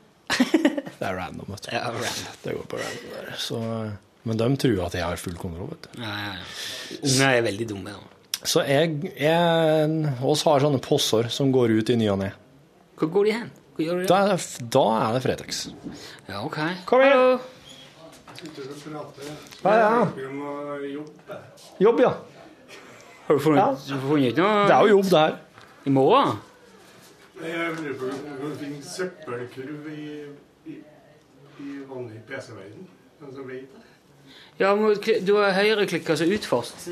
Det er random, vet du. Ja, random. Det går på random der. Så, eh, men de tror at jeg har full kontroll, vet du. Ja, ja, ja. Unger er veldig dumme. Da. Så jeg, jeg, oss har sånne posser som går ut i ny og ne. Hvor går de hen? Hvor gjør de det? Da er det, da er det Fretex. Ja, ok. Kom igjen. Hallo. Jobb, ja. Har du funnet, du har funnet ut noe? Det er jo jobb, det her. I morgen? Jeg lurer på om det finnes søppelkurv i, vanlig PC-verden. Ja, må du kli- du har høyreklikk, altså ut først.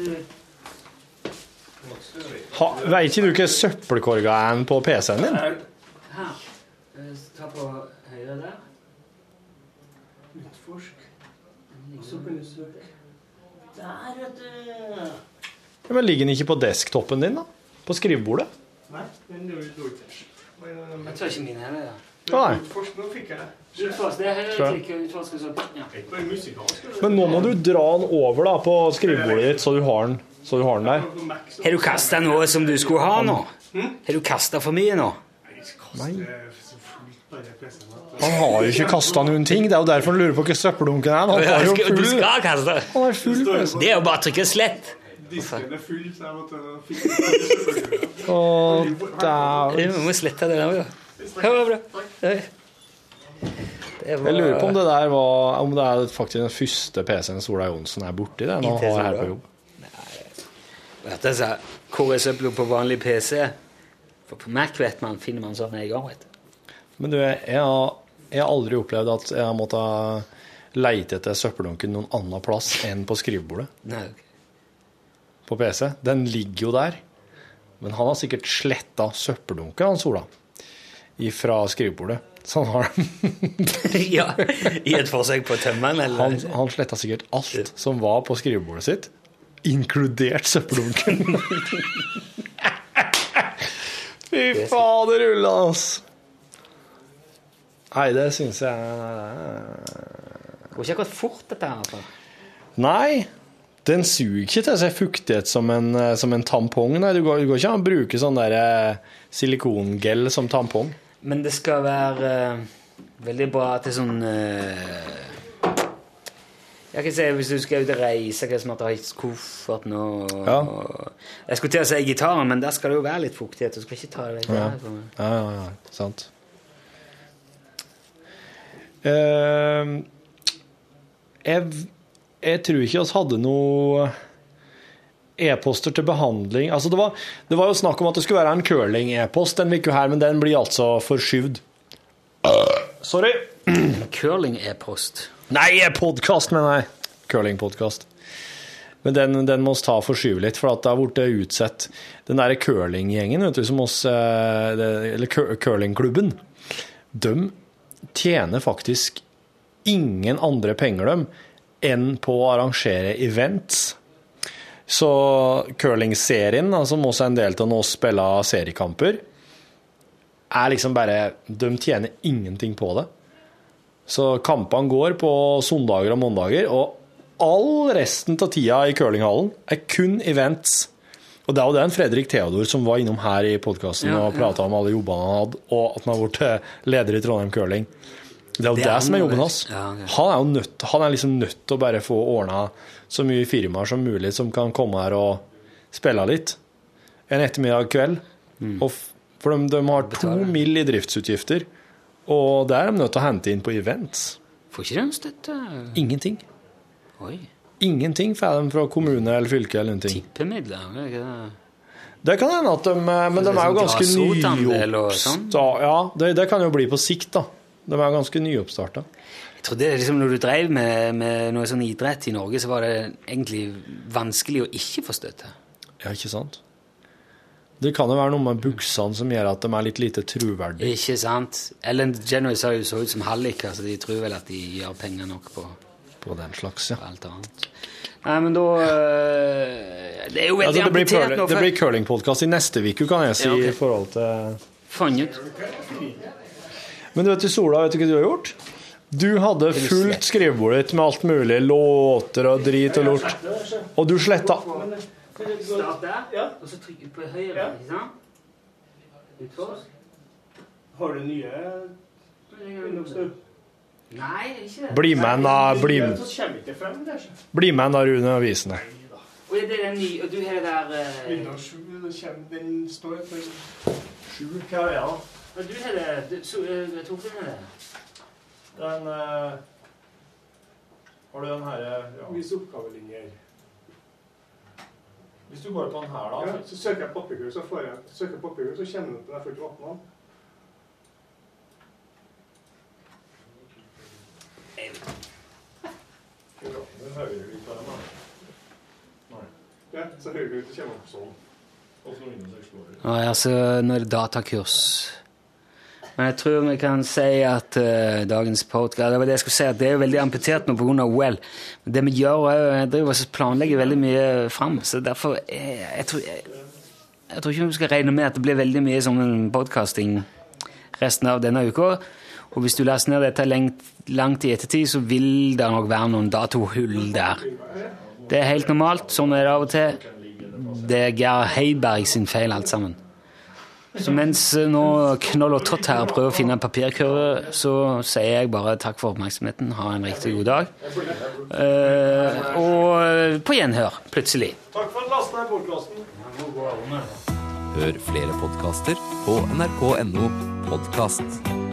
Ha, vet ikke du hva søppelkorga er på PC-en din? Her. Eh, Ta på høyre der. Utforsk. Ja, Men ligger den ikke på desktopen din, da? På skrivebordet? Jeg tror ikke min er det. ja. Ja, Nei. Utforsk, det er høyreklikk. og Utforsk, og så ja. Men nå må du dra den over da, på skrivebordet ditt, så du har den, så du har den der. Har du Hm? kasta noe som du skulle ha nå? Har du kasta for mye nå? Nei. Han har jo ikke kasta noen ting. Det er jo derfor han lurer på hva søppeldunken er. Han har jo Du full skal kaste! Han er full pølse. Det er jo bare å trykke slett. Disken er full, så jeg måtte fikse det. Og Vi må slette det der òg, da. Ja, det var bra. Det det var- Jeg lurer på om det der var Om det er faktisk den første PC-en Sola Johnsen er borti det når Inntil han er her Sola. på jobb. Dette sa KSØ på vanlig PC. For på Mac vet man, finner man sånn en gang, vet du. Men du, jeg jeg har, jeg har aldri opplevd at jeg har måttet leite etter søppeldunken noen annen plass enn på skrivebordet Nei, på PC. Den ligger jo der. Men han har sikkert sletta søppeldunken, han Sola, ifra skrivebordet. Så han har ja, I et forsøk på å tømme den, eller? Han, han sletta sikkert alt som var på skrivebordet sitt, inkludert søppeldunken. Fy fader, rulla, ass! Nei, det syns jeg Går ikke akkurat fort, dette her. altså. Nei. Den suger ikke til seg fuktighet som en, eh, som en tampong. Nei, du går, du går ikke an å bruke sånn der eh, silikongel som tampong. Men det skal være eh, veldig bra til sånn eh, Jeg kan si Hvis du skal ut og reise, hva som at du har koffert nå Ja. Jeg skulle til å si gitaren, men der skal det jo være litt fuktighet. Du skal ikke ta det vekk. Ja, der. ja, ja, ja sant. Eh, jeg, jeg tror ikke vi hadde noe e-poster til behandling. Altså det, var, det var jo snakk om at det skulle være en curling-e-post den uka her, men den blir altså forskyvd. Sorry. Curling-e-post. Nei, podkast, mener jeg. Curlingpodkast. Men den, den må oss ta og forskyve litt, for at det har blitt utsatt. Den derre curlinggjengen, vet du, som oss eh, det- Eller cur- curlingklubben. De tjener faktisk ingen andre penger, dem, enn på å arrangere events. Så curlingserien, da, som også er en del av når vi spiller seriekamper, er liksom bare De tjener ingenting på det. Så kampene går på søndager og mandager, og all resten av tida i curlinghallen er kun events. Og det er jo den Fredrik Theodor som var innom her i podkasten Ja, og ja. prata om alle jobbene han hadde, og at han har blitt leder i Trondheim Curling. Det er jo Det det, er som er jobben noe- hans. Han er jo nødt, han er liksom nødt til å bare få ordna så mye firmaer som mulig som kan komme her og spille litt en ettermiddag kveld. Mm. Og f for de, de har to mill. i driftsutgifter, og det er de nødt til å hente inn på events. Får ikke de støtte? Ingenting. Oi. Ingenting får de fra kommune eller fylke eller noen ting. Tippemidler? er det ikke det? Det kan hende at de eh, Men de Det er er jo sånn ganske grasrotandel og sånn. nyoppsta... Ja, det, det kan jo bli på sikt, da. De er ganske nyoppstarta. Jeg trodde det liksom Når du drev med, med noe sånn idrett i Norge, så var det egentlig vanskelig å ikke få støtte. Ja, ikke sant? Det kan jo være noe med buksene som gjør at de er litt lite troverdige. Ikke sant? Ellen DeGeneres har jo så ut som halliker, så de tror vel at de gjør penger nok på På den slags, ja. alt annet. Nei, men da eh, Det er jo veldig Altså, det blir, amputert curling- nå. det for- blir curlingpodkast i neste uke, kan jeg si, Ja, ok. i forhold til Fant ut. Men du vet du, Sola, vet du hva du har gjort? Du hadde fullt skrivebordet ditt med alt mulig. Låter og drit og lort. Og du sletta Start der, og så trykker du på høyre. ikke sant? Utforsk. Har du nye Windows-er? Nei, ikke Bli med, da. Bli, Så kommer ikke frem der, sjef. bli med, da, Rune, og vis den. Og det er den nye, og du har det der eh, Windows 7, det kommer, den står for 7, hva er det da? og Du har det du, så, eh, Torfinn har det. Den Har du den herre ja. Vis oppgavelinjer. Hvis du går på den her, da Ja, så søker jeg papirgull, så får jeg søker jeg papirgull, så kjenner jeg at jeg får ikke åpne den. Ja, så hører du ut, så kommer jeg opp sånn. Og så Windows Explorer. Nei, altså, nå er det datakurs. Men jeg tror vi kan si at eh, dagens podcast, det var det jeg skulle si, at det er jo veldig amputert nå pga. OL. Men det vi gjør, er jo jeg driver og planlegger veldig mye fram, så derfor eh, jeg, tror, jeg, jeg tror ikke vi skal regne med at det blir veldig mye sånn podcasting resten av denne uka. Og hvis du laster ned dette lengt, langt i ettertid, så vil det nok være noen datohull der. Det er helt normalt, sånn er det av og til. Det er Geir Heiberg sin feil alt sammen. Så mens eh, nå Knoll og Tott her prøver å finne en papirkurve, så sier jeg bare takk for oppmerksomheten, ha en riktig god dag. Eh, og eh, på gjenhør, plutselig. Takk for at lasten er podkasten. Hør flere podkaster på nrk.no podkast.